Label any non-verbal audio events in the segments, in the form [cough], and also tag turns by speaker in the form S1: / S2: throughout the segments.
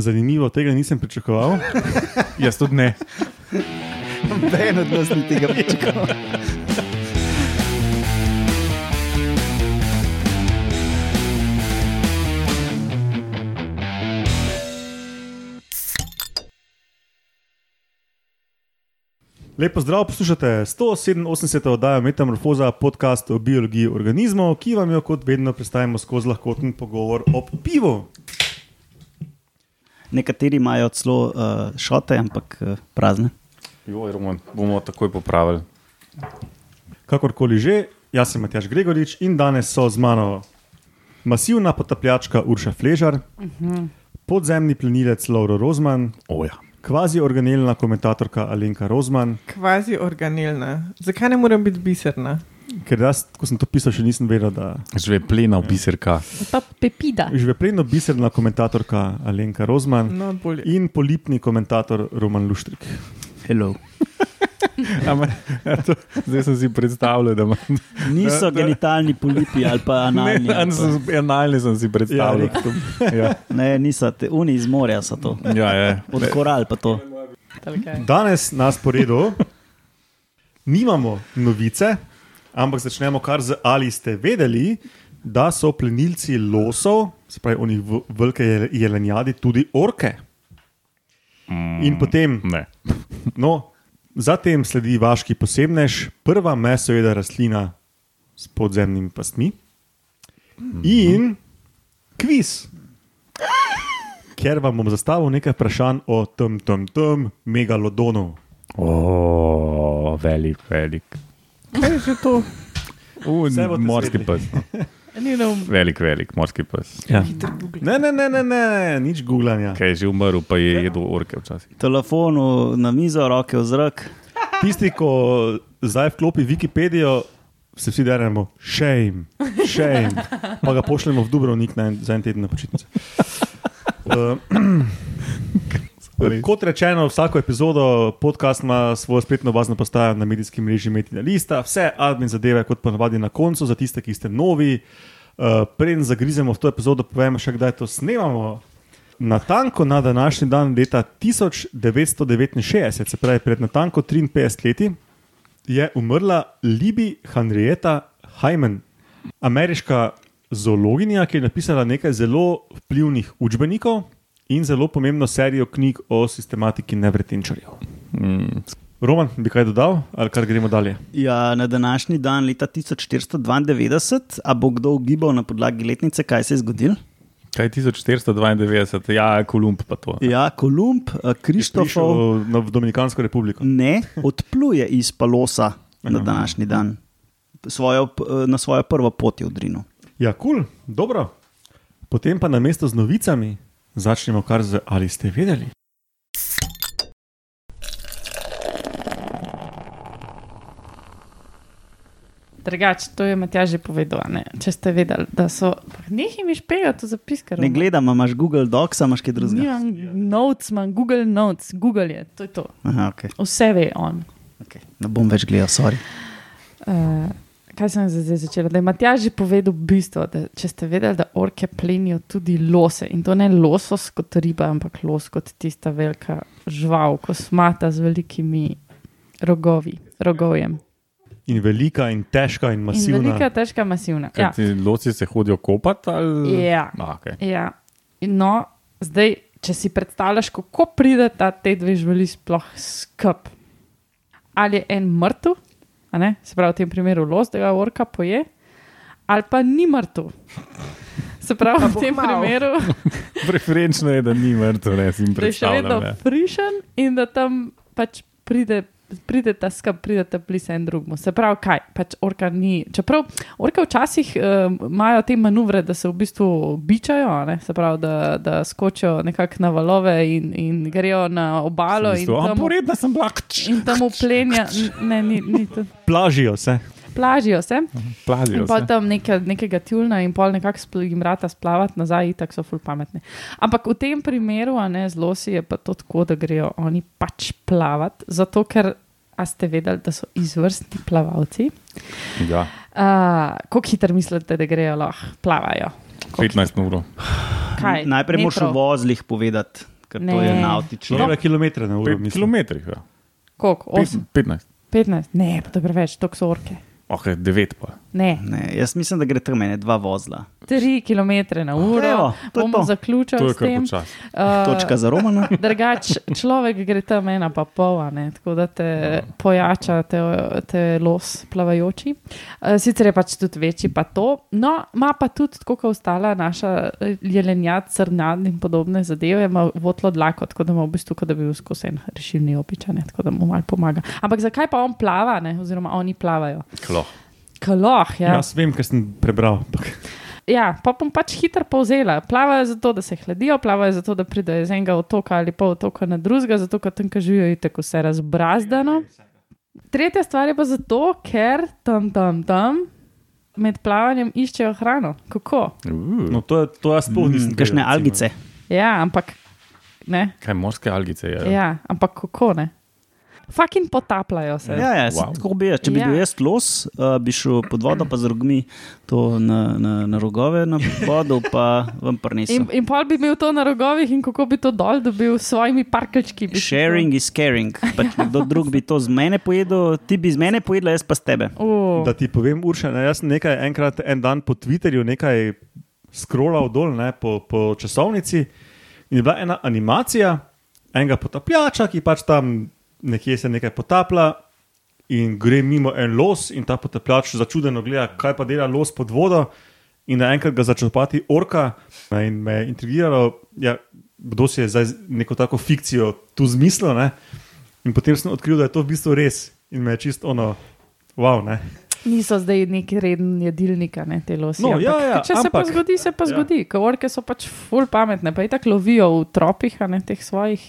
S1: Zanimivo, tega nisem pričakoval.
S2: [laughs] Jaz tudi ne.
S3: Noben od nas ni tega pričakoval.
S1: Lepo zdrav, poslušate 187. oddajo Metamorfoza, podcast o biologiji organizmov, ki vam jo kot vedno predstavimo skozi lahkoten pogovor ob pivu.
S3: Nekateri imajo celo uh, šote, ampak uh, prazne.
S2: Joj, Roman, bomo takoj popravili.
S1: Kakorkoli že, jaz sem Matjaš Gregorič in danes so z mano masivna potapljačka Urša Fležar, uh -huh. podzemni plenilec Lauro Rozman,
S2: Oja.
S1: kvazi organelna komentatorka Alenka Rozman,
S4: Kvazi organelna. Zakaj ne morem biti biserna?
S1: ker jaz, ko sem to pisal, še nisem vedel, da
S2: Že plena v [laughs] biserka.
S5: Pa pepida.
S1: je žvepleno biserna komentatorka Alenka Rozman.
S4: No, bolje.
S1: In polipni komentator Roman Luštrik.
S3: Hello.
S2: Ama, to, zdaj sem si predstavljal, da imam.
S3: Niso genitalni polipi ali pa [laughs] analni.
S2: [laughs] Ne,
S3: ali
S2: an sem, analni sem si predstavljal. Ja,
S3: pa- ne niso, te, uni iz morja so to.
S2: ja, ja, ja.
S3: Od koral pa to.
S4: ali kaj.
S1: Danes na sporedu nimamo novice, ampak začnemo kar z ali ste vedeli, da so plenilci losov, se pravi, oni v- velike jel- jelenjadi, tudi orke. In potem,
S2: Ne.
S1: no, zatem sledi vaški posebnež, prva mesojeda rastlina s podzemnimi pastmi in kviz. Ker vam bom zastavil nekaj vprašanj o tem, tem, tem, megalodonu.
S2: O, velik, velik.
S4: Kaj je že to?
S2: Un,
S1: Vse boste
S2: morski
S1: zvedeli.
S2: pes. no.
S4: Ni na umu.
S2: Velik, velik morski pes.
S1: Ja. Ne, ne, ne, ne, ne, nič googlanja.
S2: Kaj je že umrl, pa je jedel orke včasih.
S3: Telefon v- na mizo, roke v zrak.
S1: Tisti, ko zdaj vklopi Wikipedijo, se vsi deremo, shame, shame. Pa ga pošljemo v Dubrovnik na en, za en teden na počitnice. Uh, Kot rečeno, vsako epizodo podcasta ima svojo spletno bazno postajo na medijskem mreži Metina Lista, vse admin zadeve, kot ponavadi na koncu, za tiste, ki ste novi. Uh, Preden zagrizemo v to epizodo, povem še, kdaj to snemamo. Na tanko na današnji dan, leta 1969, se pravi pred natanko 53 leti, je umrla Libi Henrietta Hyman, ameriška zoologinja, ki je napisala nekaj zelo vplivnih učbenikov in zelo pomembno serijo knjig o sistematiki nevretenčarjev.
S2: Mm,
S1: Roman, bi kaj dodal, ali kar gremo dalje?
S3: Ja, na današnji dan, leta 1492, a bo kdo ugibal na podlagi letnice, kaj se je zgodilo?
S2: kaj je 1492, ja, Kolumb pa to.
S3: Ja, Kolumb, eh, Krištofov,
S1: Prišel na v Dominikansko republiko.
S3: ne odpluje iz Palosa na današnji dan, svojo, p- eh, na svojo prvo pot je odrinil.
S1: Ja, kul, cool, dobro. Potem pa na mesto z novicami začnemo kar z ali ste vedeli.
S5: Drugač, to je Matjaž že povedal, a ne? če ste vedeli, da so. Nehaj mi špegati v zapiske.
S3: Ne gledam, a imaš Google Docs, a imaš kaj drugega.
S5: Nimam notes, imam Google Notes, Google je, to je to.
S3: Aha, okay,
S5: Vse ve on.
S3: okay. Ne bom več gledal, sorry.
S5: Uh, kaj sem zdaj zdaj začela? Da je Matjaž že povedal bistvo, da če ste vedeli, da orke plenijo tudi lose in to ne losos kot riba, ampak los kot tista velika žval, kosmata z velikimi rogovi, rogovjem.
S1: In velika, in težka, in
S5: In
S1: masivna.
S5: velika, težka, masivna.
S2: Kaj ti loci se hodijo kopati? Ali...
S5: Ja.
S2: A, okay.
S5: Ja. No, zdaj, če si predstavljaš, kako prideta te dve živali sploh skup. Ali je en mrtev, a ne, se pravi v tem primeru los, da ga orka poje, ali pa ni mrtev. Se pravi v tem
S4: mal.
S5: primeru,
S2: Preferenčno je, da ni mrtev, ne si jim
S5: da je še vedno
S2: predstavljam. ja.
S5: frišen in da tam pač pride. Pride ta skrb, pride ta plisa en drugemu. Se pravi, kaj, pač orka ni. Čeprav orka včasih eh, imajo te manevre, da se v bistvu bičajo, a ne? se pravi, da, da skočijo nekako na valove in, in grejo na obalo in
S2: Mislim, a,
S5: tam,
S2: Poredna sem bila.
S5: in tam uplenja.
S2: [laughs]
S5: Ne, ni, ni to.
S1: Plažijo se.
S5: No. Plažijo se.
S2: Plazijo
S5: In pa
S2: se.
S5: tam neke, nekega tjulna, in pol nekako spl- jim rata splavati nazaj, tako so ful pametne. Ampak v tem primeru, a ne z losi, je pa to tako, da grejo oni pač plavati, zato ker a ste vedeli, da so izvrstni plavalci.
S2: Ja,
S5: Uh, Kako hitro mislite, da grejo lahko plavajo?
S2: 15 ur.
S5: Kaj?
S3: Najprej moraš v
S5: Metrov?
S3: vozlih povedati, ker to
S5: Ne.
S3: je
S1: Človek
S3: nautično.
S1: je kilometre na uro,
S2: Pri
S1: mislim.
S2: kilometrih, ja.
S5: Koliko?
S2: Pet-
S5: 8,
S2: 15.
S5: 15, ne, pa to je preveč, to so orke.
S2: Ok, 9 pa.
S5: Ne,
S3: Ne, jaz mislim, da gre tam mene dva vozla.
S5: 3 km na uro,
S3: Evo, to je
S5: bomo
S3: to.
S5: zaključili
S2: To je
S5: s
S2: kar
S5: tem.
S2: počasi.
S5: Uh,
S3: Točka za Romana.
S5: Drugač, človek gre tam ena pa pol, a ne, tako da te pojača, te, te los plavajoči. Eh, Sicer je pač tudi večji, pa to. No, ima pa tudi, tako kot ostala naša eh, jelenjad, crnad in podobne zadeve, ima votlo dlako, tako da ima v bistvu, kot da bi bil skozi en rešilni opičan, tako da mu malo pomaga. Ampak zakaj pa on plava, ne, oziroma oni plavajo?
S2: Klo.
S5: Kaloh, ja.
S1: Jaz vem, ker sem prebral. ampak
S5: Ja, pa bom pač hitro povzela. Plavajo zato, da se hladijo, plavajo zato, da pridejo iz enega otoka ali pol otoka na drugega, zato ker tam živijo tako vse razbrazdano. Tretja stvar je pa zato, ker tam, tam, tam med plavanjem iščejo hrano. Kako?
S2: Uh.
S1: No, to, je- to jaz sploh nisem.
S3: Mm, Kakšne
S1: vedel, recimo.
S3: algice.
S5: Ja, ampak ne.
S3: Ja.
S2: Kaj morske algice je?
S5: Ja, ampak kako ne? Fakin potapljajo se.
S3: Ja, ja, wow.
S2: Wow.
S3: tako bi jaz. Če bi
S5: Ja.
S3: ja. bil jaz los, uh, bi šel pod vodo, pa z rogmi to na, na, na rogove, na vodo, pa vam prinesel.
S5: In, in pol bi imel to na rogovih, in kako bi to dol dobil s svojimi parkeljčki. bi si to-
S3: Sharing is caring. Pač nekdo drug bi to z mene pojedel, ti bi z mene pojedla, jaz pa z tebe.
S5: O,
S1: Da ti povem, Urša, ne, jaz sem nekaj, enkrat en dan po Twitterju nekaj scrollal dol ne, po, po časovnici in je bila ena animacija enega potapljača, ki pač tam nekje se nekaj potaplja. In gre mimo en los, in ta potapljač začudeno gleda, kaj pa dela los pod vodo, in naenkrat ga začrpati orka. Ne, In me je intrigiralo, ja, kdo si je zdaj z- neko tako fikcijo tu zmislil. Ne? In potem sem odkril, da je to v bistvu res, in me je čisto ono, wow. Ne?
S5: Niso zdaj neki reden jedilnika, ne te losi.
S1: No, ja, ja,
S5: če se pa
S1: ampak-
S5: zgodi, se pa
S1: Ja.
S5: zgodi. Ja. Orke so pač ful pametne, pa jih tako lovijo v tropih, a ne teh svojih.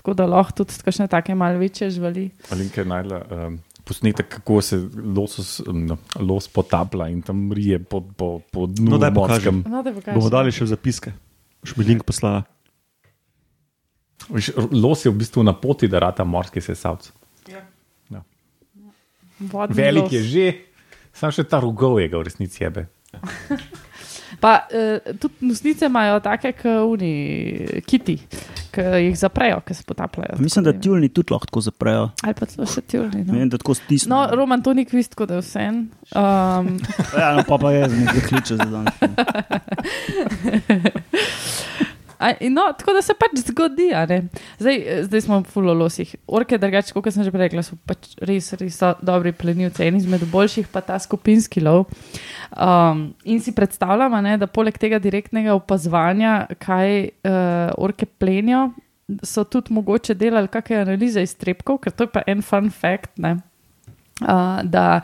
S5: Tako da lahko tudi kakšne take malce večje živali.
S2: Alinka je najdla um, posnetek, kako se losos, em, no, los potaplja in tam rije po, po, po dnu.
S1: No, daj
S2: morskem.
S5: No, da pokažeš.
S1: Bomo dali še v zapiske, še bi link poslala.
S2: Veš, Los je v bistvu na poti, da rata morski sesalc.
S5: Vodni
S2: Velik
S5: los.
S2: je že, sam še ta rogov je ga v resnici jebe.
S5: Pa eh, tudi nosnice imajo take, kot oni, kiti, ki jih zaprejo, ki se potapljajo.
S3: Pa mislim, da
S5: Tako
S3: tjulni tudi lahko tako zaprejo.
S5: Ali pa celo še tjulni.
S3: Ne
S5: No.
S3: vem, da tako stisnejo.
S5: No, Roman, to ni kvist, kot da je vse. Um,
S3: ja, no, pa pa jaz nekaj kliče za no. dan.
S5: [laughs] A, in no, tako da se pač zgodi. a ne. Zdaj, eh, zdaj smo v fulolosih. Orke, drugače, kot sem že prej rekla, so pač res, res so dobri plenilci, en izmed boljših, pa ta skupinski lov. Um, in si predstavljamo, ne, da poleg tega direktnega opazovanja, kaj uh, orke plenijo, so tudi mogoče delali kakšne analize iztrebkov, ker to je pa en fun fact. Ne, uh, da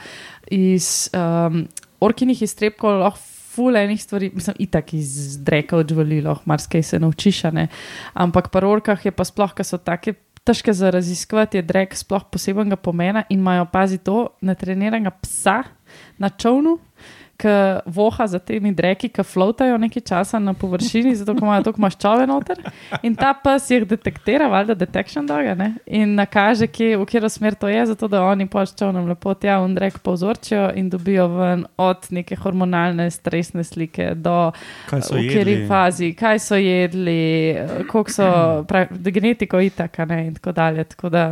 S5: iz um, orkinih iztrebkov lahko fulejnih stvari, mislim, itak iz dreka od živali, lahko marsikaj se naučiš, a ne. ampak pri orkah je pa sploh, ker so take. Težko za raziskovati je drek sploh posebnega pomena in imajo pazi to natreniranega psa na čovnu, ki voha za temi dreki, ki flotajo nekaj časa na površini, zato ker imajo tako maščobe noter. In ta pes jih detektira, valjda detection doga, ne? in nakaže, kje, v katero smer to je, zato da oni paščejo nam lepo tja in rek povzročijo in dobijo ven od neke hormonalne stresne slike do
S1: Kaj so
S5: v kateri
S1: jedli?
S5: fazi, kaj so jedli, koliko so, [clears throat] prav, genetiko itaka ne? in tako dalje. Tako da,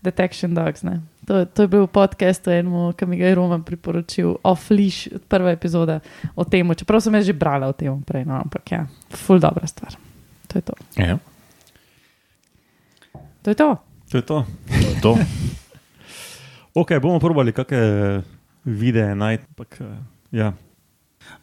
S5: Detection Dogs. Ne? To, to je bil podcast o enem, ki mi ga je Roman priporočil, Offlish, prva epizoda o tem. Čeprav sem jaz že brala o tem prej, no, ampak ja, ful dobra stvar. To je to.
S2: Ja,
S5: To je to.
S1: To je to.
S2: to.
S1: [laughs] Ok, bomo probali kakšne videe najti. ampak, eh, Ja.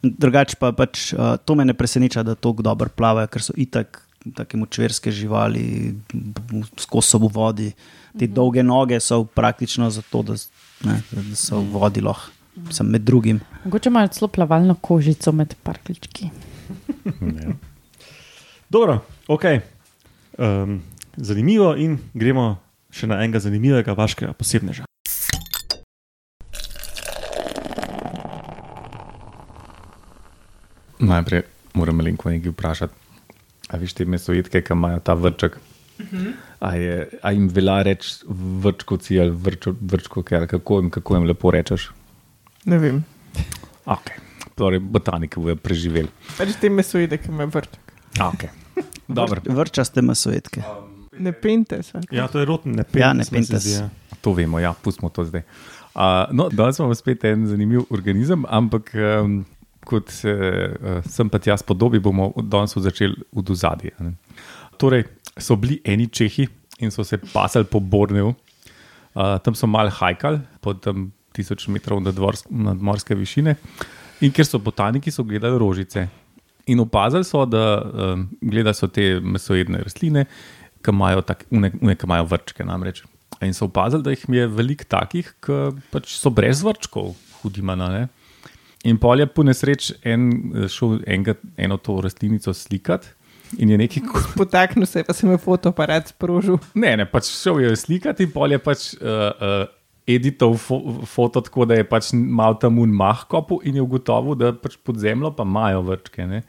S3: Drugač pa pač uh, to me ne preseneča, da tako dobro plavajo, ker so itak take močverske živali, b- b- skozi so v vodi. Te dolge noge so praktično zato, da, s- ne, da so v vodi lahko, sem med drugim.
S5: Mogoče imajo celo plavalno kožico med parklički.
S1: Dobro, ok. Um, zanimivo in gremo še na enega zanimivega vaškega posebneža.
S2: Najprej moram Alinko nekaj vprašati. A veš te mesojedke, ki imajo ta vrček? A, je, a jim velja reči vrčkovci ali vrčo, vrčkovke, ali kako jim, kako jim lepo rečeš?
S4: Ne vem.
S2: Okay. Torej, botaniki bojo preživeli.
S4: Pač te mesoide, ki me vrtak.
S2: Okay. Dobro,
S3: Vrčaste mesojetke.
S4: Ne pente se.
S1: Ja, to je roten, ne pentes.
S3: Ja, ne
S1: meni se
S3: pentes.
S1: zdi, ja.
S2: to vemo, ja, pustimo to zdaj. Uh, no, danes imamo spet en zanimiv organizem, ampak um, kot uh, sem pa jaz podobi, bomo danes začeli od zadje. Torej, so bili eni Čehi in so se pasali po Borneu, uh, tam so mal hajkali pod um, 1000 metrov nadvorsk- nadmorske višine in ker so botaniki, so gledali rožice. In opazili so, da um, gledali so te mesojedne rastline, ki imajo, tak, une, une, ki imajo vrčke. Namreč. In so opazili, da jih je veliko takih, ki pač so brez vrčkov, hudimana. Ne? In pol je po nesreč en, eh, šel enega, eno to rastlinico slikati in je neki [laughs]
S4: Potaknil se je, pa sem je fotoaparat sprožil.
S2: Ne, ne, pač šel je slikati, pol je pač uh, uh, editov fo foto, tako da je pač mal tam un mah kopu in je ugotovil, da pač pod zemljo pa imajo vrčke. Ne?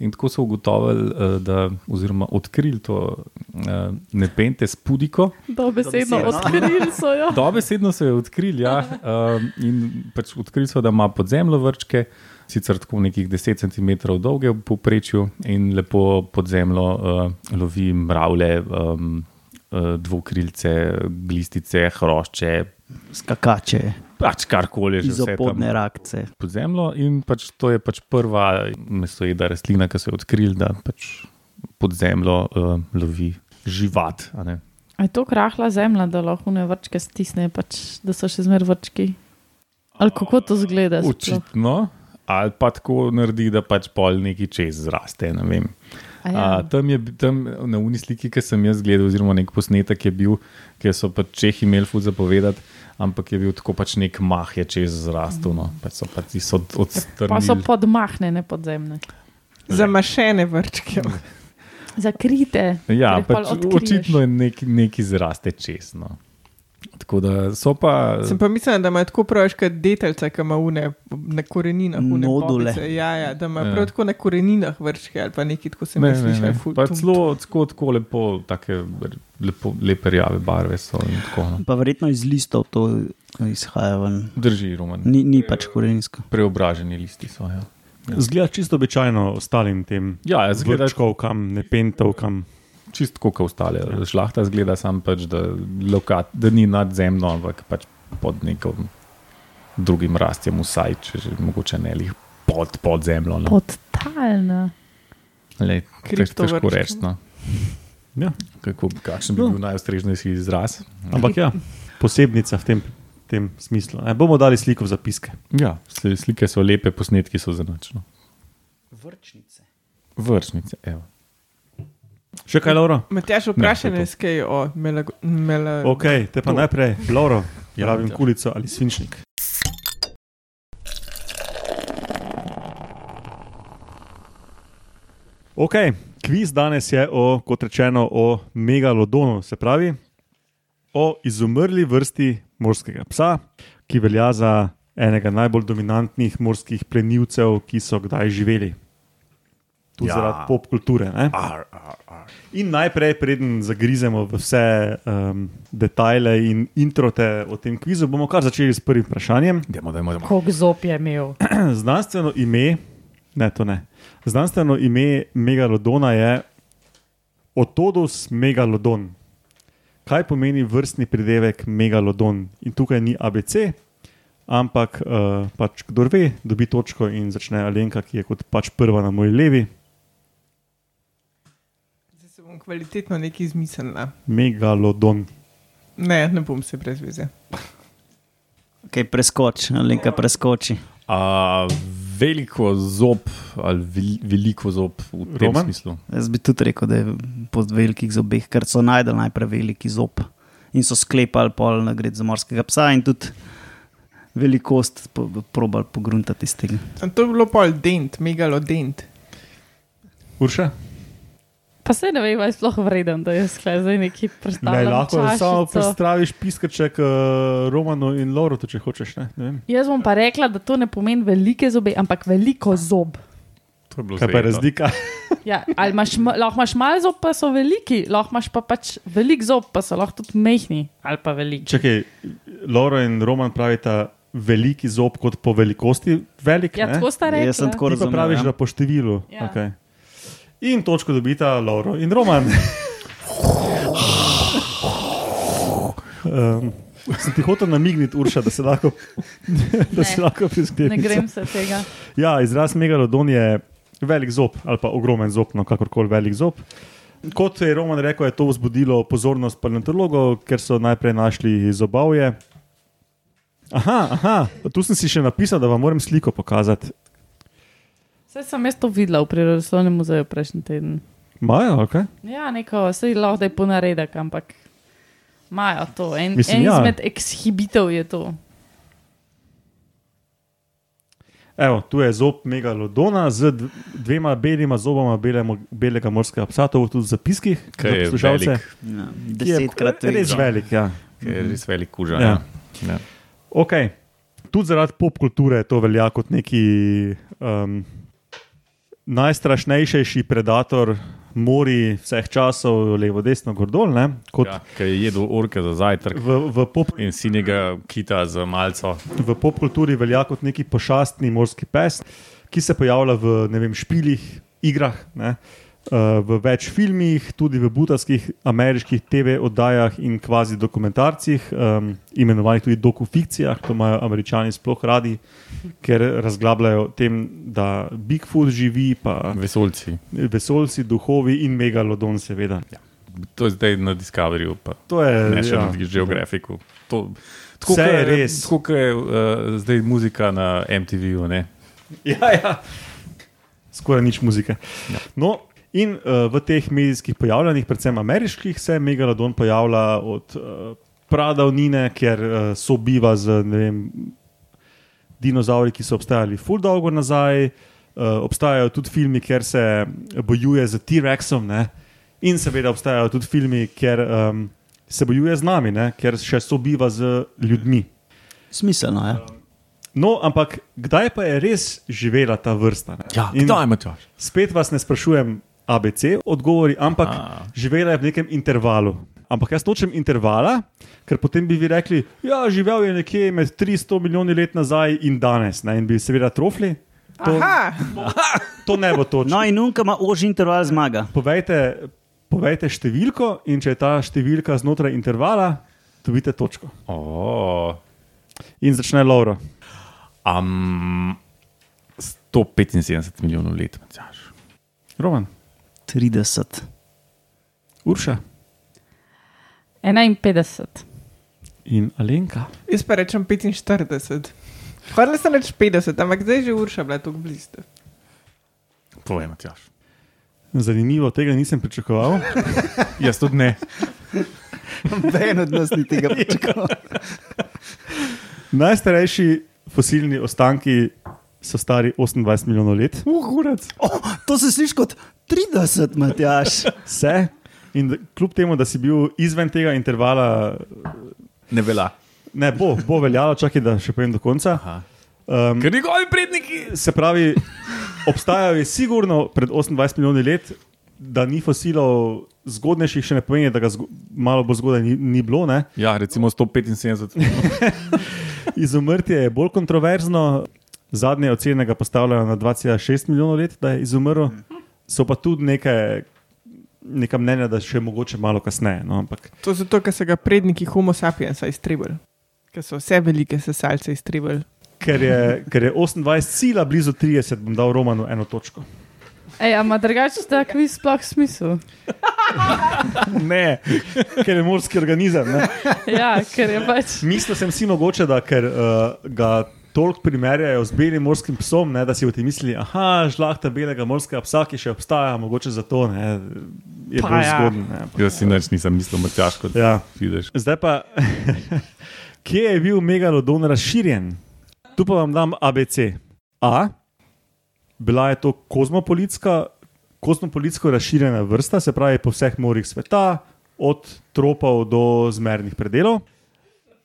S2: In tako so ugotovili, uh, da, oziroma odkrili to uh, nepente s pudiko.
S5: Dobesedno odkrili so ja. jo.
S2: Dobesedno so jo odkrili, ja, um, in pač odkrili so, da ima pod zemljo vrčke, sicer tako nekih 10 cm dolge v povprečju in lepo pod zemljo uh, lovi mravlje, um, uh, dvokrilce, glistice, hrošče,
S3: Skakače,
S2: pač karkoli že. vse tam
S3: izopodne rakce.
S2: Pod zemljo in pač to je pač prva mesojeda rastlina, ki so jo odkrili, da pač pod zemljo uh, lovi živat. a ne.
S5: A je to krahla zemlja, da lahko ne vrčke stisne, pač, da so še zmer vrčki. Ali kako to zgleda? sploh?
S2: Očitno, ali pa tako naredi, da pač pol neki čez zraste. Ne vem.
S5: A ja.
S2: A, tam je bi- tam na uni sliki, ki sem jaz gledal, oziroma nek posnetek je bil, ki so pač Čehi imeli fuz zapovedati, ampak je bil tako pač nek mah je čez zrastel, no. pač so pač so od,
S5: Ja, Pa so
S2: odstrnili.
S5: podmahnjene podzemne,
S4: Zamašene vrčke.
S5: zakrite.
S2: Ja,
S5: ker jih torej pol
S2: pač
S5: odkriješ.
S2: očitno je nek, neki zraste čez. No. Tako da so pa.
S4: Sem pa mislila, da ima tako praviška detelca, ki ima une na koreninah. Une
S3: Nodule.
S4: popice. Ja, ja, da ima
S2: Ja.
S4: prav tako na koreninah vrčke ali pa nekaj tako se mi
S2: Ne, ne, ne.
S4: sliši.
S2: Pa Celo tako, tako lepo, take, lepo, lepe rjave barve so. in Tako, no.
S3: Pa verjetno iz listov to izhaja ven.
S2: Drži, Roman.
S3: Ni, ni pač koreninsko.
S2: Preobraženi listi so. Ja,
S1: Zgleda čisto običajno ostalim tem.
S2: ja zgleda
S1: Zgledčkov kam, ne pentov kam.
S2: čisto kot ostale. Šlahta zgleda sam, pač, da, lokat, da ni nadzemno, ampak pač pod nekim drugim rastjem, vsaj če že mogoče ne lih pod, pod zemljo. No.
S5: Podtalna.
S2: Lej, tež, težko
S4: Kriptovrčki.
S2: reči. No.
S1: Ja.
S2: Kako, kakšen bi
S1: No.
S2: bil najustreznejši izraz?
S1: Ampak ja, posebnica v tem, tem smislu. E, bomo dali sliko v zapiske.
S2: Ja, sli- slike so lepe, posnetki so zanačno.
S3: Vrčnice.
S2: Vršnice, evo.
S1: Še kaj, Laura?
S4: Matjaš,
S2: Ne,
S4: vprašanje
S2: to
S4: je, skaj o melago- mela-
S1: Ok, te pa
S4: To.
S1: najprej, Laura,
S2: Ja,
S1: ja, rabim
S2: ja.
S1: kulico ali svinčnik. Ok, kviz danes je, o, kot rečeno, o megalodonu, se pravi o izumrli vrsti morskega psa, ki velja za enega najbolj dominantnih morskih plenilcev, ki so kdaj živeli. Tu ja.
S2: Ja.
S1: zaradi pop kulture. Ar, ar, ar. In najprej, preden zagrizemo v vse um, detajle in introte o tem kvizu, bomo kar začeli s prvim vprašanjem.
S2: Dajmo, dajmo, dajmo.
S5: Kog zop je imel.
S1: Znanstveno ime, ne, to ne. Znanstveno ime megalodona je Otodus megalodon. Kaj pomeni vrstni pridevek megalodon? In tukaj ni ABC, ampak uh, pač kdo ve, dobi točko in začne Alenka, ki je kot pač prva na moji levi.
S4: Zdaj se bom kvalitetno nekaj izmislila.
S1: Megalodon.
S4: Ne, ne bom se brez veze.
S3: Okay, preskoči, Alenka preskoči.
S2: A, veliko zob, ali vel, veliko zob v tem
S1: Roman?
S2: Roman? smislu.
S3: Jaz bi tudi rekel, da je po velikih zobeh, ker so najdel najprej veliki zob in so sklepali pol na gred za morskega psa in tudi velikost po, probal pogruntati iz tega.
S4: A To je bilo pol dent, megalodent.
S1: Urša?
S5: Pa se ne vem, ali je sploh vreden, da je sklej zdaj neki
S1: Ne,
S5: predstavljen.
S1: lahko samo predstaviš piskaček uh, Romano in Lorotu, če hočeš. Ne? Ne vem.
S5: Jaz bom pa rekla, da to ne pomeni velike zobe, ampak veliko zob.
S2: To je bilo
S1: Kaj pa je razlika?
S5: Ja, ali imaš, ma- lahko imaš malo zob, pa so veliki, lahko imaš pa pač velik zob, pa so lahko tudi mehni ali pa veliki.
S1: Čakaj, Laura in Roman pravita veliki zob kot po velikosti velik.
S5: Ja,
S1: ne?
S5: tako sta rekla.
S3: Jaz sem tako
S1: Ti pa
S3: razumel.
S1: praviš,
S3: ja.
S1: da po številu.
S5: Ja.
S1: Okay. In točko dobita Lauro in Roman. [laughs] um, sem ti hotel namigniti, Urša, da se lahko, [laughs] da se
S5: Ne.
S1: lahko
S5: Ne
S1: prisklepiš.
S5: grem se tega.
S1: Ja, izraz megalodon je velik zob ali pa ogromen zob, no kakorkoli velik zob. Kot je Roman rekel, je to vzbudilo pozornost paleontologov, ker so najprej našli zobavje. Aha, aha, tu sem si še napisal, da vam moram sliko pokazati.
S5: Vse sem jaz to videla v prirodoslovnem muzeju prejšnji teden.
S1: Majo, okay.
S5: Ja, neko, sej lahko da je ponaredek, ampak imajo to. En,
S1: Mislim,
S5: Mislim, en
S1: ja.
S5: ja. izmed ekshibitov je to.
S1: Evo, tu je zob megalodona z dv- dvema belima zoboma belemo, belega morskega psa, to bo tudi v zapiskih,
S2: Kaj
S1: za
S2: je
S1: poslušalce,
S2: velik.
S3: Ja,
S1: ki je
S3: desetkrat
S1: res
S3: več.
S1: velik. Ja.
S2: Ker je res velik kuža.
S1: Ja.
S2: Ja. Ja.
S1: Ok, tudi zaradi pop kulture to velja kot neki um, najstrašnejši predator mori vseh časov, levo, desno, gor dol. ne, Kot
S2: Ja.
S1: ja.
S2: Ker je jedel orke za zajtrk
S1: v, v, pop,
S2: in sinjega kita za malco.
S1: v pop kulturi velja kot neki pošastni morski pes, ki se pojavlja v ne vem, špilih, igrah. Ne? eh, V več filmih, tudi v butanskih, ameriških TV oddajah in kvazi dokumentarcih, um, imenovanih tudi dokufikcijah, to imajo američani sploh radi, ker razglabljajo o tem, da Bigfoot živi, pa
S2: Vesolci.
S1: vesolci, duhovi in megalodon, seveda.
S2: To je zdaj na Discoveryju, pa
S1: To je
S2: ne še
S1: ja.
S2: ja. na Geografiku. To, tako,
S1: Vse
S2: kot
S1: je res.
S2: Tako kot je uh, zdaj muzika na MTV-ju. ne.
S1: Ja, ja. Skoraj nič muzike. Ja. No, in uh, v teh medijskih pojavljanjih, predvsem ameriških, se Megalodon pojavlja od uh, pradavnine, kjer uh, sobiva z ne vem, dinozauri, ki so obstajali ful dolgo nazaj. Uh, obstajajo tudi filmi, kjer se bojuje z T-Rexom, ne? in seveda obstajajo tudi filmi, kjer um, se bojuje z nami, ne? kjer še sobiva z ljudmi.
S3: Smiselno ja. je.
S1: No, ampak kdaj pa je res živela ta vrsta? ne?
S2: Ja,
S1: In
S2: Matjaš?
S1: Spet vas ne sprašujem, ABC odgovori, ampak A.
S2: A.
S1: živela je v nekem intervalu. Ampak jaz nočem intervala, ker potem bi vi rekli, da ja, živel je nekje med 300 milijoni let nazaj in danes, ne? in bi seveda trofli. To,
S4: Aha,
S1: to ne bo točno.
S3: No, in unka ima oži interval zmaga.
S1: Povejte, povejte številko, in če je ta številka znotraj intervala, dobite točko.
S2: Oh,
S1: In začne Laura.
S2: um, 175 milijonov let, Matjaš.
S1: Roman,
S3: [laughs] 30.
S1: Urša
S5: 51.
S1: in Alenka.
S4: jaz pa rečem 45. Hvala, sem reč 50, ampak zdaj je že Urša bila tako blizu.
S2: Povej, Matjaš.
S1: Zanimivo, tega nisem pričakoval.
S2: Jaz tudi ne.
S3: Noben od nas ni tega [laughs] pričakoval.
S1: Najstarejši fosilni ostanki so stari 28 milijonov let. Uhurac.
S3: Oh, to se sliši kot 30, Matjaš.
S1: Vse. In da- kljub temu, da si bil izven tega intervala,
S2: Ne velja.
S1: ne bo, bo veljalo, čakaj, da še povem do konca. Um,
S2: Ker njegovi predniki.
S1: se pravi, obstajajo je sigurno pred 28 milijoni let, da ni fosilov zgodnejših, še ne pomeni, da ga zgo, malo bolj zgodaj ni, ni bilo. Ne?
S2: Ja, recimo 175.
S1: Izumrtje je bolj kontroverzno. Zadnje ocene ga postavljajo na 2,6 milijona let, da je izumrl. So pa tudi neke, neka mnenja, da še mogoče malo kasneje. No, ampak
S4: To je zato, ker so ga predniki Homo sapiensa iztrebili, ker so vse velike sesalce iztrebili.
S1: ker je, ker je 28 sila blizu 30, bom dal Romanu eno
S5: [laughs]
S1: točko.
S5: Ej, a ima drugače ta kviz sploh smisel?
S1: Ne, ker je morski organizem. Ne.
S5: Ja, ker je pač.
S1: Mislil sem si mogoče, da ker uh, ga toliko primerjajo z belim morskim psom, ne, da si boste mislili, aha, žlahta belega morskega psa, ki še obstaja, mogoče zato ne, je
S5: Pa
S1: bolj
S5: ja.
S1: zgodn. Ne,
S2: Jaz si nič nisem mislil, Matjaš, kot
S1: ja.
S2: vidiš.
S1: Zdaj pa, [laughs] kje je bil megalodon razširjen? Tu pa vam dam ABC. A, bila je to kozmopolitska, kozmopolitsko razširjena vrsta, se pravi po vseh morjih sveta, od tropov do zmernih predelov.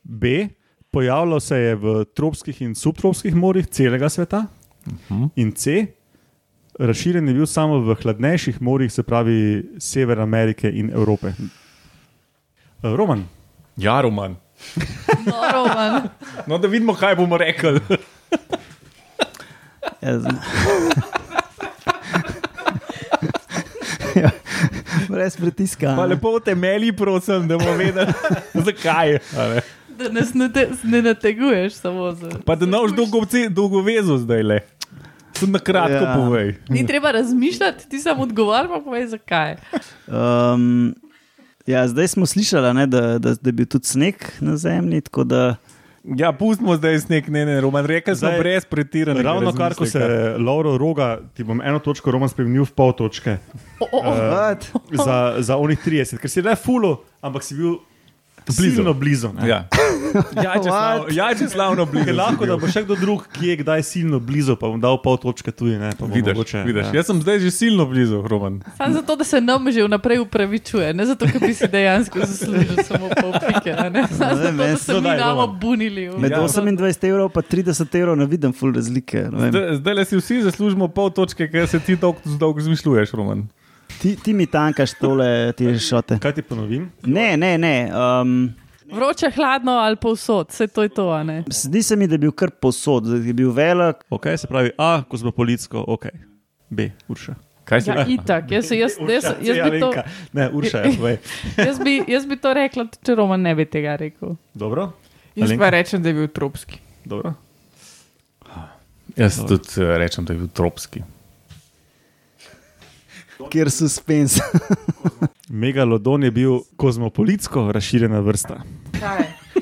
S1: B, pojavljal se je v tropskih in subtropskih morjih celega sveta.
S2: Mhm.
S1: In C, razširjen je bil samo v hladnejših morjih, se pravi Sever Amerike in Evrope. Eh, Roman.
S2: Ja, Roman.
S5: Noroman.
S2: No, da vidimo, kaj bomo rekli.
S3: [laughs] [laughs] Ja, z- brez pritiska.
S2: Pa lepo temelji, prosim, da bomo vedeli, [laughs] zakaj. a ne.
S5: Da nas ne, te, ne nateguješ samo za.
S2: Pa da ne boš dolgo, dolgo vezo zdaj le. Tudi na kratko
S3: Ja.
S2: ja. povej.
S5: Ni treba razmišljati, ti sam odgovarj, pa povej zakaj.
S3: Um, ja, zdaj smo slišali, ne, da, da, da je bil tudi sneg na zemlji, tako da
S2: Ja, pustimo zdaj snek, ne, ne, Roman, rekel sem
S1: Zdaj,
S2: brez pretiranega.
S1: Ravno kar, ko
S2: razmisleka.
S1: se Lauro roga, ti bom eno točko Roman spremenil v pol točke. Eh, za, za onih 30, ker si le fulo, ampak si bil
S2: Blizu.
S1: silno blizu. ne. [laughs]
S2: Ja, ja, če slavno, ja, če slavno blizu.
S1: Ker [laughs] lahko,
S2: si
S1: da
S2: bil.
S1: bo še kdo drug, ki je kdaj silno blizu, pa bom dal pol točke tudi. Ne, pa bo
S2: Vidiš,
S1: mogoče,
S2: vidiš.
S1: Ja.
S2: Jaz sem zdaj že silno blizu, Roman.
S5: Sam zato, da se nam že vnaprej upravičuje, ne zato, ker bi si dejansko zaslužil samo pol pike. a ne. Samo
S3: Ne, meni
S5: Zato, da
S3: se
S5: se mi
S1: dodaj,
S5: damo
S1: Roman.
S5: bunili. v-
S3: med
S2: Ja.
S3: 28 evrov in 30 evrov ne vidim ful razlike. ne vem.
S2: Zdaj zdajle si vsi zaslužimo pol točke, ker se ti dolgo dolg zmišljuješ, Roman.
S3: Ti, ti mi tankaš tole, ti šote.
S1: Kaj ti ponovim?
S3: Ne, ne, ne. Um,
S5: Vroče, hladno ali povsod, vse to je to. a ne.
S3: Zdi se mi, da je bil kar posod, da je bil velik.
S1: Okay, se pravi, A, kozmopolitsko, ok. B, Urša.
S2: Kaj si?
S5: Ja, itak, jaz, jaz, jaz, jaz, jaz, bi to,
S1: Alenka. Ne, Urša je, povej.
S5: jaz, bi, jaz bi to rekla, tudi če Roman ne bi tega rekel.
S1: Dobro?
S4: Jaz
S1: Alenka?
S4: pa rečem, da je bil tropski.
S1: Dobro.
S2: Jaz tudi eh, rečem, da je bil tropski.
S3: Kjer suspens.
S1: Megalodon je bil kozmopolitsko razširjena vrsta.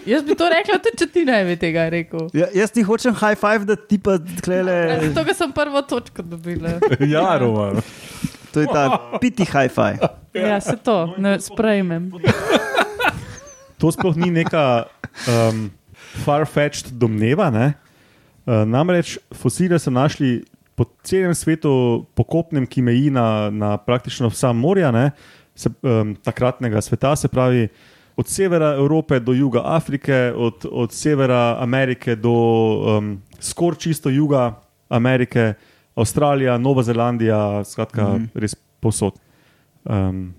S5: Jaz bi to rekla, tudi če ti ne bi tega rekel.
S3: [laughs] ja, jaz ti hočem high five, da ti pa klele.
S5: Zato, ker sem prvo točko dobila.
S2: [laughs] Ja, Roman.
S3: To je ta piti high five.
S5: Ja, se to, ne sprejmem.
S1: To sploh ni neka um, far-fetched domneva. Ne? Uh, namreč fosile so našli po celem svetu, po kopnem, ki meji na, na praktično vsa morja ne? se, um, takratnega sveta, se pravi od severa Evrope do juga Afrike, od, od severa Amerike do um, skoraj čisto juga Amerike, Avstralija, Nova Zelandija, skratka, mm. res posod. Um,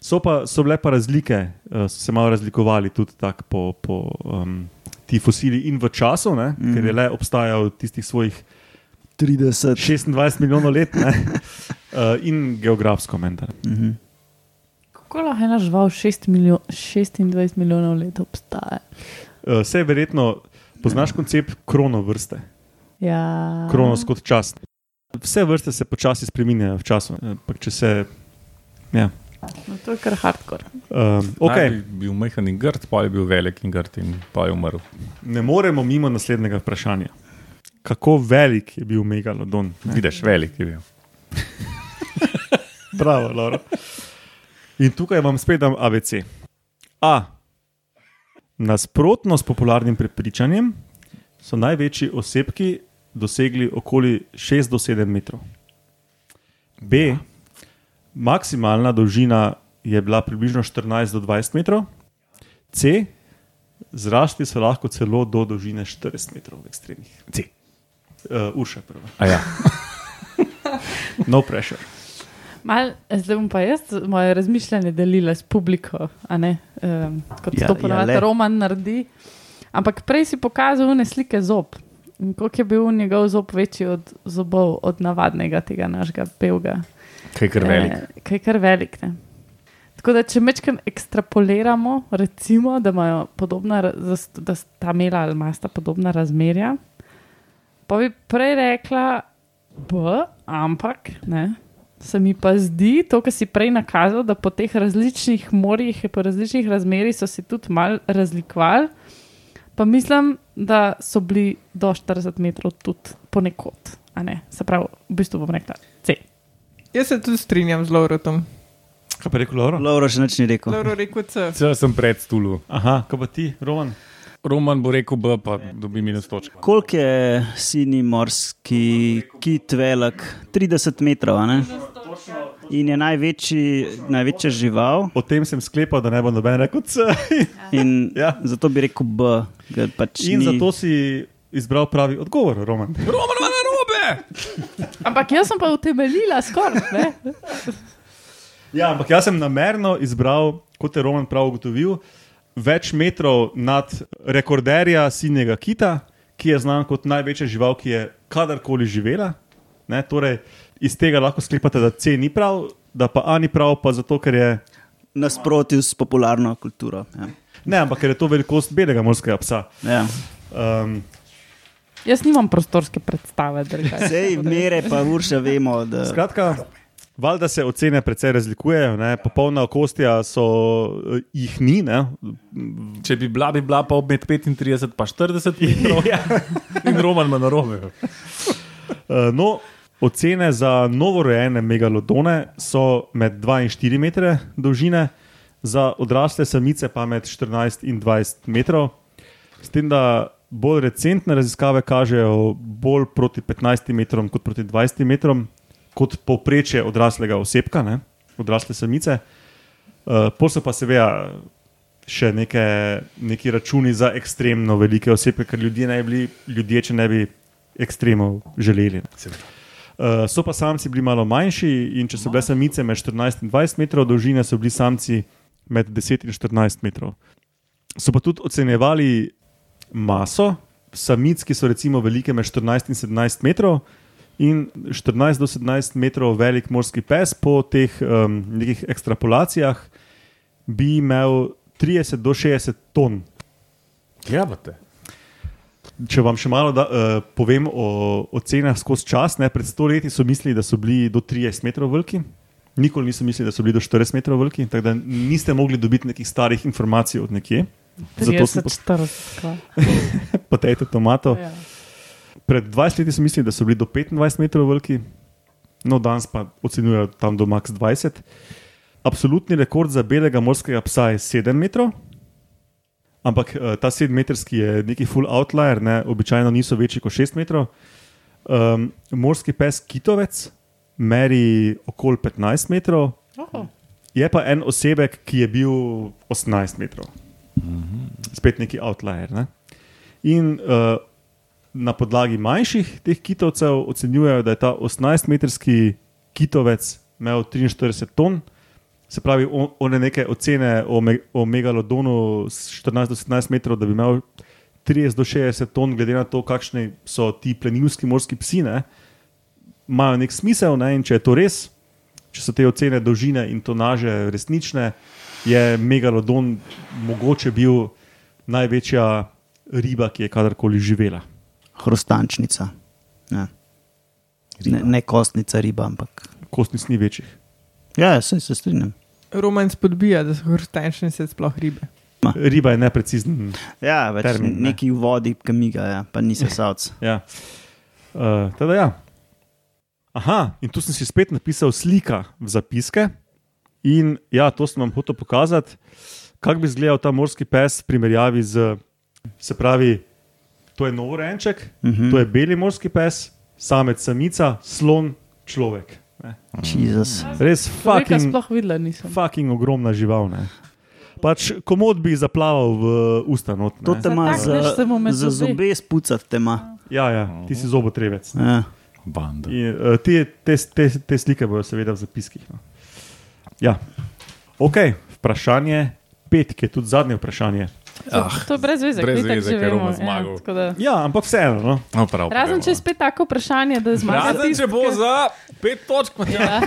S1: So, pa, so bile pa razlike, eh, so se malo razlikovali tudi tako po, po um, ti fosili in v času, ne, mm. ker je le obstajal tistih svojih
S3: 30.
S1: 26 milijonov let, ne, [laughs] uh, in geografsko, menda.
S3: Mhm.
S5: Kako lahko ena žival 6 milijon, 26 milijonov let obstaja?
S1: Uh, vse je verjetno, poznaš koncept kronovrste,
S5: Ja.
S1: kronos kot čas. Vse vrste se počasi spreminjajo v času. eh, ampak Če se. Ja.
S5: No, to je kar hardcore.
S1: Um, okay.
S2: Najprej je bil majhen in grd, pa je bil velik in grd in pa je umrl.
S1: Ne moremo mimo naslednjega vprašanja. Kako velik je bil megalodon? Ne?
S2: Vidiš, velik je bil.
S1: Bravo, Laura. In tukaj vam spet dam ABC. A. Nasprotno s popularnim prepričanjem so največji osebki dosegli okoli 6 do 7 metrov. B. Maksimalna dolžina je bila približno 14 do 20 metrov. C. Zrasti so lahko celo do dolžine 40 metrov v ekstremih.
S2: C.
S1: Uh, Urša prva.
S2: A ja.
S1: No pressure.
S5: Mal, zdaj bom pa jaz moje razmišljanje delila s publiko, um, kot
S3: Ja,
S5: ja, to
S3: ja,
S5: ponovadi
S3: le.
S5: ja, Roman naredi. Ampak prej si pokazal une slike zob. In Koliko je bil njegov zob večji od zobov, od navadnega tega našega belga?
S2: Kaj kar velik.
S5: Eh, Kaj je kar velik. Ne? Tako da, če mečkam ekstrapoliramo, recimo, da imajo podobna, ra- da s- da sta imela ali masta podobna razmerja, pa bi prej rekla B, ampak ne. Se mi pa zdi, to, kar si prej nakazal, da po teh različnih morjih, in po različnih razmerah so se tudi mal razlikovali, pa mislim, da so bili do 40 metrov tudi ponekod. a ne. Se pravi, v bistvu bom rekla C.
S4: Jaz se tudi strinjam z Laurotom.
S1: Kaj pa rekel Laura?
S3: Lauro še nič ni rekel.
S4: Lauro rekel C.
S2: Če sem pred stulu.
S1: Aha, kaj pa ti, Roman?
S2: Roman bo rekel B, pa dobi minus točko.
S3: Koliko je sini morski kit velik? 30 metrov, a ne? In je največji, največja žival.
S1: O tem sem sklepal, da ne bo noben rekel C.
S3: In ja.
S1: Ja.
S3: Zato bi rekel B. ker Pač
S1: In
S3: ni...
S1: zato si izbral pravi odgovor, Roman.
S2: Roman ima narobe!
S5: Ampak jaz sem pa utemeljila skoraj. ne.
S1: Ja, ampak jaz sem namerno izbral, kot je Roman prav ugotovil, več metrov nad rekorderja Sinjega Kita, ki je znan kot največja žival, ki je kadarkoli živela. Ne, torej, iz tega lahko sklepate, da C ni prav, da pa A ni prav, pa zato, ker je.
S3: Nasprotju s popularno kulturo. Ja.
S1: Ne, ampak ker je to velikost belega morskega psa.
S3: Ja.
S1: Um,
S5: Jaz nimam prostorske predstave. drugače.
S3: Sej mere, pa urša vemo, da
S1: Skratka, valjda se ocene precej razlikujejo, ne? popolna okostja so eh, jih ni. Ne? Eh,
S2: Če bi bila, bi bila pa med 35 in 40 metrov. [laughs] ja. In Roman ima narobe.
S1: Eh, No, ocene za novorojene megalodone so med 2 in 4 metre dolžine, za odrasle samice pa med 14 in 20 metrov. S tem, da bolj recentne raziskave kažejo bolj proti 15 metrom kot proti 20 metrom, kot povprečje odraslega osebka, ne? odrasle samice. Uh, Posebej pa seveda še neke, neki računi za ekstremno velike osebe, ker ljudje ne bi bili ljudje, če ne bi ekstremov želeli. Uh, so pa samci bili malo manjši in če so bile samice med 14 in 20 metrov dolžine, so bili samci med 10 in 14 metrov. So pa tudi ocenjevali maso samic, ki so recimo velike med 14 in 17 metrov. In 14 do 17 metrov velik morski pes po teh um, nekih ekstrapolacijah bi imel 30 do 60 ton.
S2: Grabate.
S1: Če vam še malo da, uh, povem o, o cenah skozi čas, ne, pred 100 leti so mislili, da so bili do 30 metrov veliki, nikoli niso mislili, da so bili do 40 metrov veliki, tako da niste mogli dobiti nekih starih informacij od nekje. Zato sem
S5: 30, 40. kva.
S1: [laughs] potekel tomato.
S2: Oh,
S5: Ja.
S1: Pred 20 leti so mislili, da so bili do 25 metrov veliki, no danes pa ocenjujejo tam do max 20. Absolutni rekord za belega morskega psa je 7 metrov, ampak eh, ta 7-metrski je neki full outlier, ne? običajno niso večji kot 6 metrov. Um, morski pes Kitovec meri okoli 15 metrov,
S5: Oho.
S1: je pa en osebek, ki je bil 18 metrov. Spet neki outlier. Ne? In uh, na podlagi manjših teh kitovcev ocenjujejo, da je ta 18-metrski kitovec imel 43 ton. Se pravi, on- one neke ocene o, me, o megalodonu s 14 do 17 metrov, da bi imel 30 do 60 ton, glede na to, kakšni so ti plenilski morski psi, ne, imajo nek smisel. Ne, in če je to res, če so te ocene dolžine in tonaže resnične, je megalodon mogoče bil največja riba, ki je kadarkoli živela.
S3: hrustančnica. Ja. Ne, ne kostnica riba, ampak.
S1: Kostnic ni večjih.
S3: Ja, sej se strinjam.
S4: Roman spodbija, da so hrustančnice sploh ribe.
S1: Riba je neprecizen.
S3: Ja, več
S1: Termin,
S3: Termin,
S1: ne.
S3: neki v vodi, ki miga, ja, pa nisem savc.
S1: Ja. Uh, teda ja. Aha, in tu sem si spet napisal slika v zapiske. In ja, to sem vam hotel pokazati, kako bi izgledal ta morski pes v primerjavi z, se pravi, to je novorenček, uh -huh. to je beli morski pes, samec samica, slon, človek. Ne.
S3: Jezus.
S1: Res
S5: Človeka
S1: fucking,
S5: Torej, sploh videla nisem.
S1: fucking ogromna žival. Ne. Pač komod bi zaplaval v ustanot.
S3: To te ima za,
S5: Zatakneš se mu med
S3: za
S5: zobe.
S3: zobe, spucati te ima.
S1: Ja, ja, ti si zobotrebec. Ne.
S3: Ja.
S2: Banda.
S1: In, uh, te, te, te, te slike bodo seveda v zapiskih. No. Ja. Ok, vprašanje pet, ki je tudi zadnje vprašanje.
S5: Ah, to je brez veze,
S2: brez
S5: itak
S2: veze,
S5: že
S2: ker
S5: vemo,
S2: Roman zmagal.
S5: Ja, tako da-
S1: Ja, ampak vseeno. No.
S2: No, prav,
S5: Razen če je spet tako vprašanje, da zmaga. tisti, ki-
S2: za pet točk,
S5: Ja,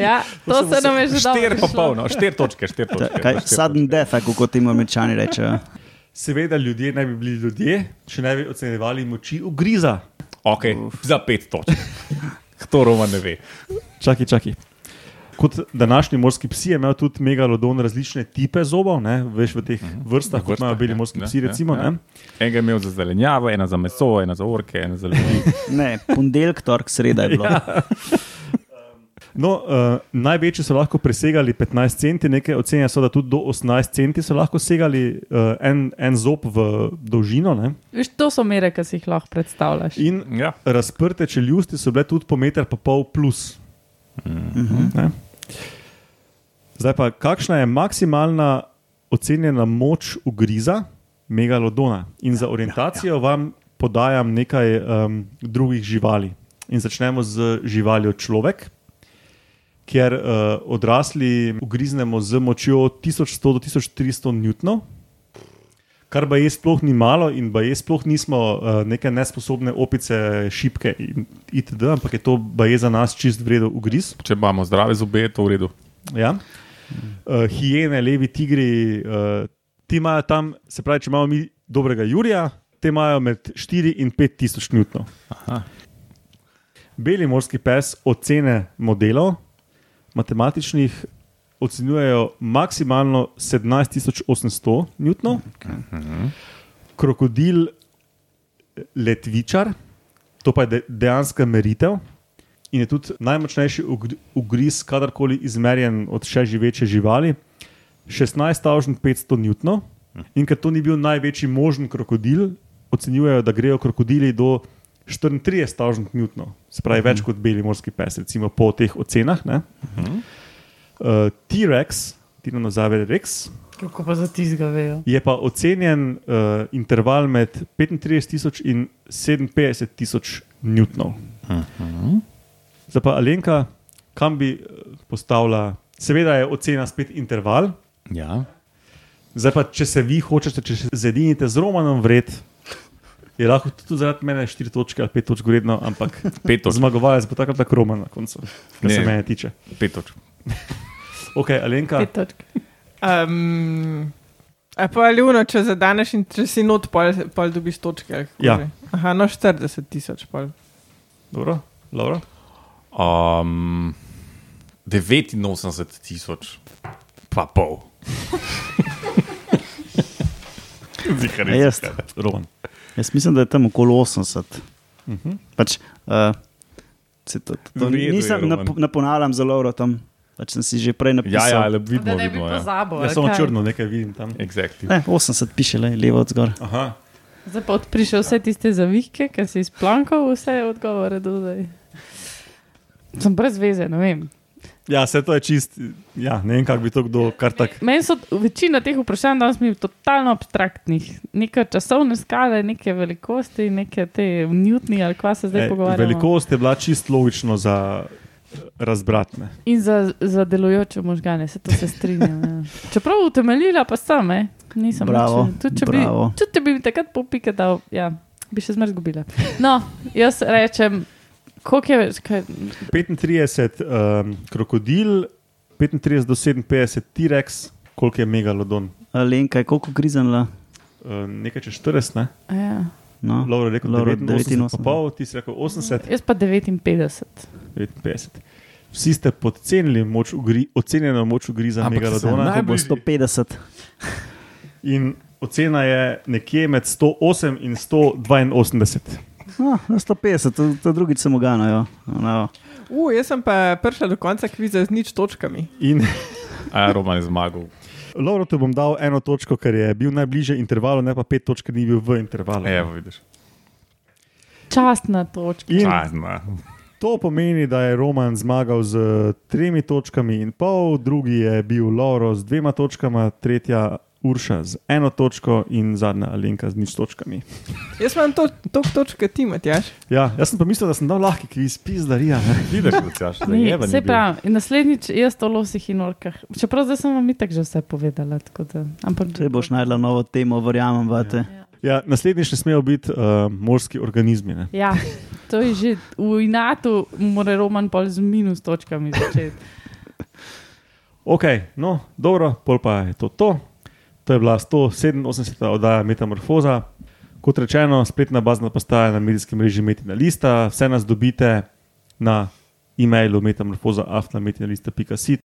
S5: ja to se nam je že dobro.
S2: štiri pa
S5: prišlo.
S2: polno, štiri točke, štiri
S3: Ta,
S2: točke.
S3: kaj, sudden death, tako kot jim američani rečejo.
S1: Seveda ljudje ne bi bili ljudje, če ne bi ocenjevali moči ugriza.
S2: Ok, za pet točk. To Roman ne ve.
S1: Čakaj, čakaj. Kot današnji morski psi je imel tudi megalodon različne tipe zobov, ne? veš v teh vrstah, kot imajo
S2: ja.
S1: bili morski psi. Recimo, ne?
S2: Enega je imel za zelenjavo, ena za meso, ena za orke, ena za ljudi.
S3: Ne, ponedeljek, torek, sreda je bilo. Ja.
S1: No, uh, največji so lahko presegali 15 centi, nekaj ocenjeno so, da tudi do 18 centi so lahko segali uh, en, en zob v dolžino. Ne?
S5: Viš, to so mere, ki si jih lahko predstavljaš.
S1: In
S2: Ja.
S1: razprte čeljusti so bile tudi po meter pa pol plus. Ne? Zdaj pa, kakšna je maksimalna ocenjena moč ugriza megalodona? In za orientacijo vam podajam nekaj um, drugih živali. In začnemo z živaljo človek, kjer uh, odrasli ugriznemo z močjo 1100 do 1300 newtonov, kar pa je sploh ni malo in pa je sploh nismo uh, neke nesposobne opice, šipke in itd., ampak je to pa je za nas čist vredno ugriz.
S6: Če imamo zdrave zobe, je to v redu.
S1: Ja? Uh, hijene, levi, tigri, uh, ti imajo tam, se pravi, če imamo mi dobrega Jurija, te imajo med 4 in 5 tisoč newtonov. Beli morski pes ocene modelov, matematičnih, ocenjujejo maksimalno 17.800 newtonov, krokodil letvičar, to pa je de dejanska meritev. In je tudi najmočnejši ugr- ugriz, kadarkoli izmerjen od še živeče živali, 16.500 newtonov. In ker to ni bil največji možen krokodil, ocenjujejo, da grejo krokodili do 34.000 newtonov, se pravi več kot beli morski pes, recimo po teh ocenah. Ne? Uh, T-Rex, dinozavr Rex,
S5: Kako pa za tizga vejo?
S1: je pa ocenjen uh, interval med 35.000 in 57.000 newtonov. Zdaj pa Alenka, kam bi eh, postavila, seveda je ocena spet interval.
S2: Ja.
S1: Zdaj pa, če se vi hočete, če se zedinite z Romanom vred, je lahko tudi zaradi mene 4 točke ali 5 točk vredno, ampak
S2: Pet točk.
S1: zmagovalec bo takrat tako Roman na koncu, kar se
S2: Ne.
S1: mene tiče.
S2: Pet točk.
S1: Ok,
S2: Ja.
S1: Alenka,
S5: Pet točk.
S4: Um, a pa ali uno, če zadaneš in če si not, pol, pol dobiš točke. ali kako
S1: Ja.
S4: že? Aha, no 40 tisoč pol.
S1: dobro, dobro.
S6: Um, 89 tisoč, pa pol. Zihar
S3: Ja,
S6: je.
S3: jaz,
S1: Roman.
S3: jaz mislim, da je tam okoli 80. Pač, uh, se to, to, to,
S2: Mhm. V redu je,
S3: nisem
S2: Roman.
S3: nap- naponavljam zelo dobro tam, pač sem si že prej
S2: Ja,
S3: napisal.
S2: ja, le
S5: Da ne
S2: vidimo,
S5: bi
S2: vidimo. Ja.
S5: pozabil.
S1: Jaz
S5: ali
S1: samo
S5: kaj?
S1: črno nekaj vidim tam.
S2: Exactly.
S3: Ne, 80 piše, le, levo od zgor.
S2: Ah.
S1: Aha.
S5: Zdaj pa odpriše vse tiste zavihke, ker si izplankal vse odgovore do zdaj. Sem brez veze, ne vem.
S1: Ja, vse to je čist, ja, ne vem, kako bi to kdo kar tak.
S5: Meni so večina teh vprašanj danes mi totalno abstraktnih. Neke časovne skale, neke velikosti, neke te newtni ali kva se zdaj
S1: E,
S5: e, pogovarjamo.
S1: velikost je bila čist logično za eh, razbratne.
S5: In za, za delujoče možgane, se to se strinjam. Ja. Čeprav utemeljila, pa sam, eh? nisem
S3: Bravo,
S5: nič- Tudi če bi,
S3: bravo.
S5: tudi če bi mi takrat popike dal, ja, bi še zmeraj izgubila. No, jaz rečem, koliko je, kaj,
S1: 35 um, krokodil, 35 do 57 T-Rex, koliko je megalodon.
S3: Eh, Lenka je koliko grizenla?
S1: Uh, nekaj čez 40, ne?
S5: ja.
S3: No.
S1: Laura je rekel
S3: Lovro
S1: 89,
S3: 89.
S1: pa pol, ti si rekel 80,
S5: jaz pa 59.
S1: 59. Vsi ste podcenili moč ugri, ocenjeno moč ugriza
S6: Ampak
S1: megalodona
S3: Ko bo 150.
S1: in ocena je nekje med 108 in 182.
S3: No, 150, to, to drugič sem ogano. No,
S4: U, jaz sem pa prišla do konca kviza z nič točkami.
S1: In
S2: A, Roman je zmagal.
S1: Laura, tu bom dal eno točko, ker je bil najbližje intervalu, ne pa pet točk, ker ni bil v intervalu.
S2: Evo, vidiš.
S5: Častna točka.
S1: In
S2: Časna.
S1: To pomeni, da je Roman zmagal z tremi točkami in pol, drugi je bil Lauro z dvema točkama, tretja Urša z eno točko in zadnja Alenka z nič točkami.
S4: Jaz imam to, to točke ti, Matjaš.
S1: Ja, jaz sem pa mislil, da sem dal lahki kviz, pizdarija. ne.
S2: Vidiš, Lucijaš, da ja
S5: Ni,
S2: je ven.
S5: Saj pravim, in naslednjič jaz o losih in orkah. Čeprav zdaj sem vam itak že vse povedala. tako Da, ampak
S3: Če boš najdla novo temo, verjamem, vate.
S1: Ja, naslednjič ne smejo biti uh, morski organizmi. Ne?
S5: Ja, to je že v Inatu, mora Roman pol z minus točkami začeti.
S1: Ok, no, dobro, pol pa je to to. To je bila 187. oddaja Metamorfoza. Kot rečeno, spletna bazna postaja na medijskem režiu Metina Lista, vse nas dobite na e-mailu metamorfoza.afnametinalista.si. e.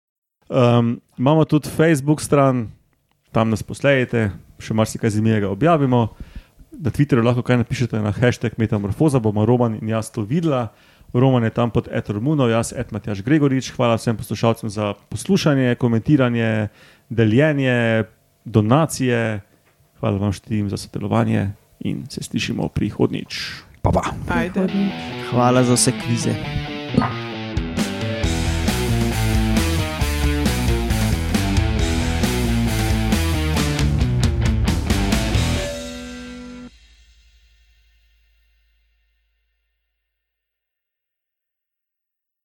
S1: Um, imamo tudi Facebook stran, tam nas poslejete, še marsikaj zanimivega objavimo. Na Twitterju lahko kaj napišete na hashtag Metamorfoza, bomo Roman in jaz to videla. Roman je tam pod Etor Muno, jaz, Ed Matjaš Gregorič. Hvala vsem poslušalcem za poslušanje, komentiranje, deljenje, donacije. Hvala vam štirim za sodelovanje in se slišimo prihodnjič.
S4: Ajde.
S3: Hvala za vse kvize.
S5: Adijo.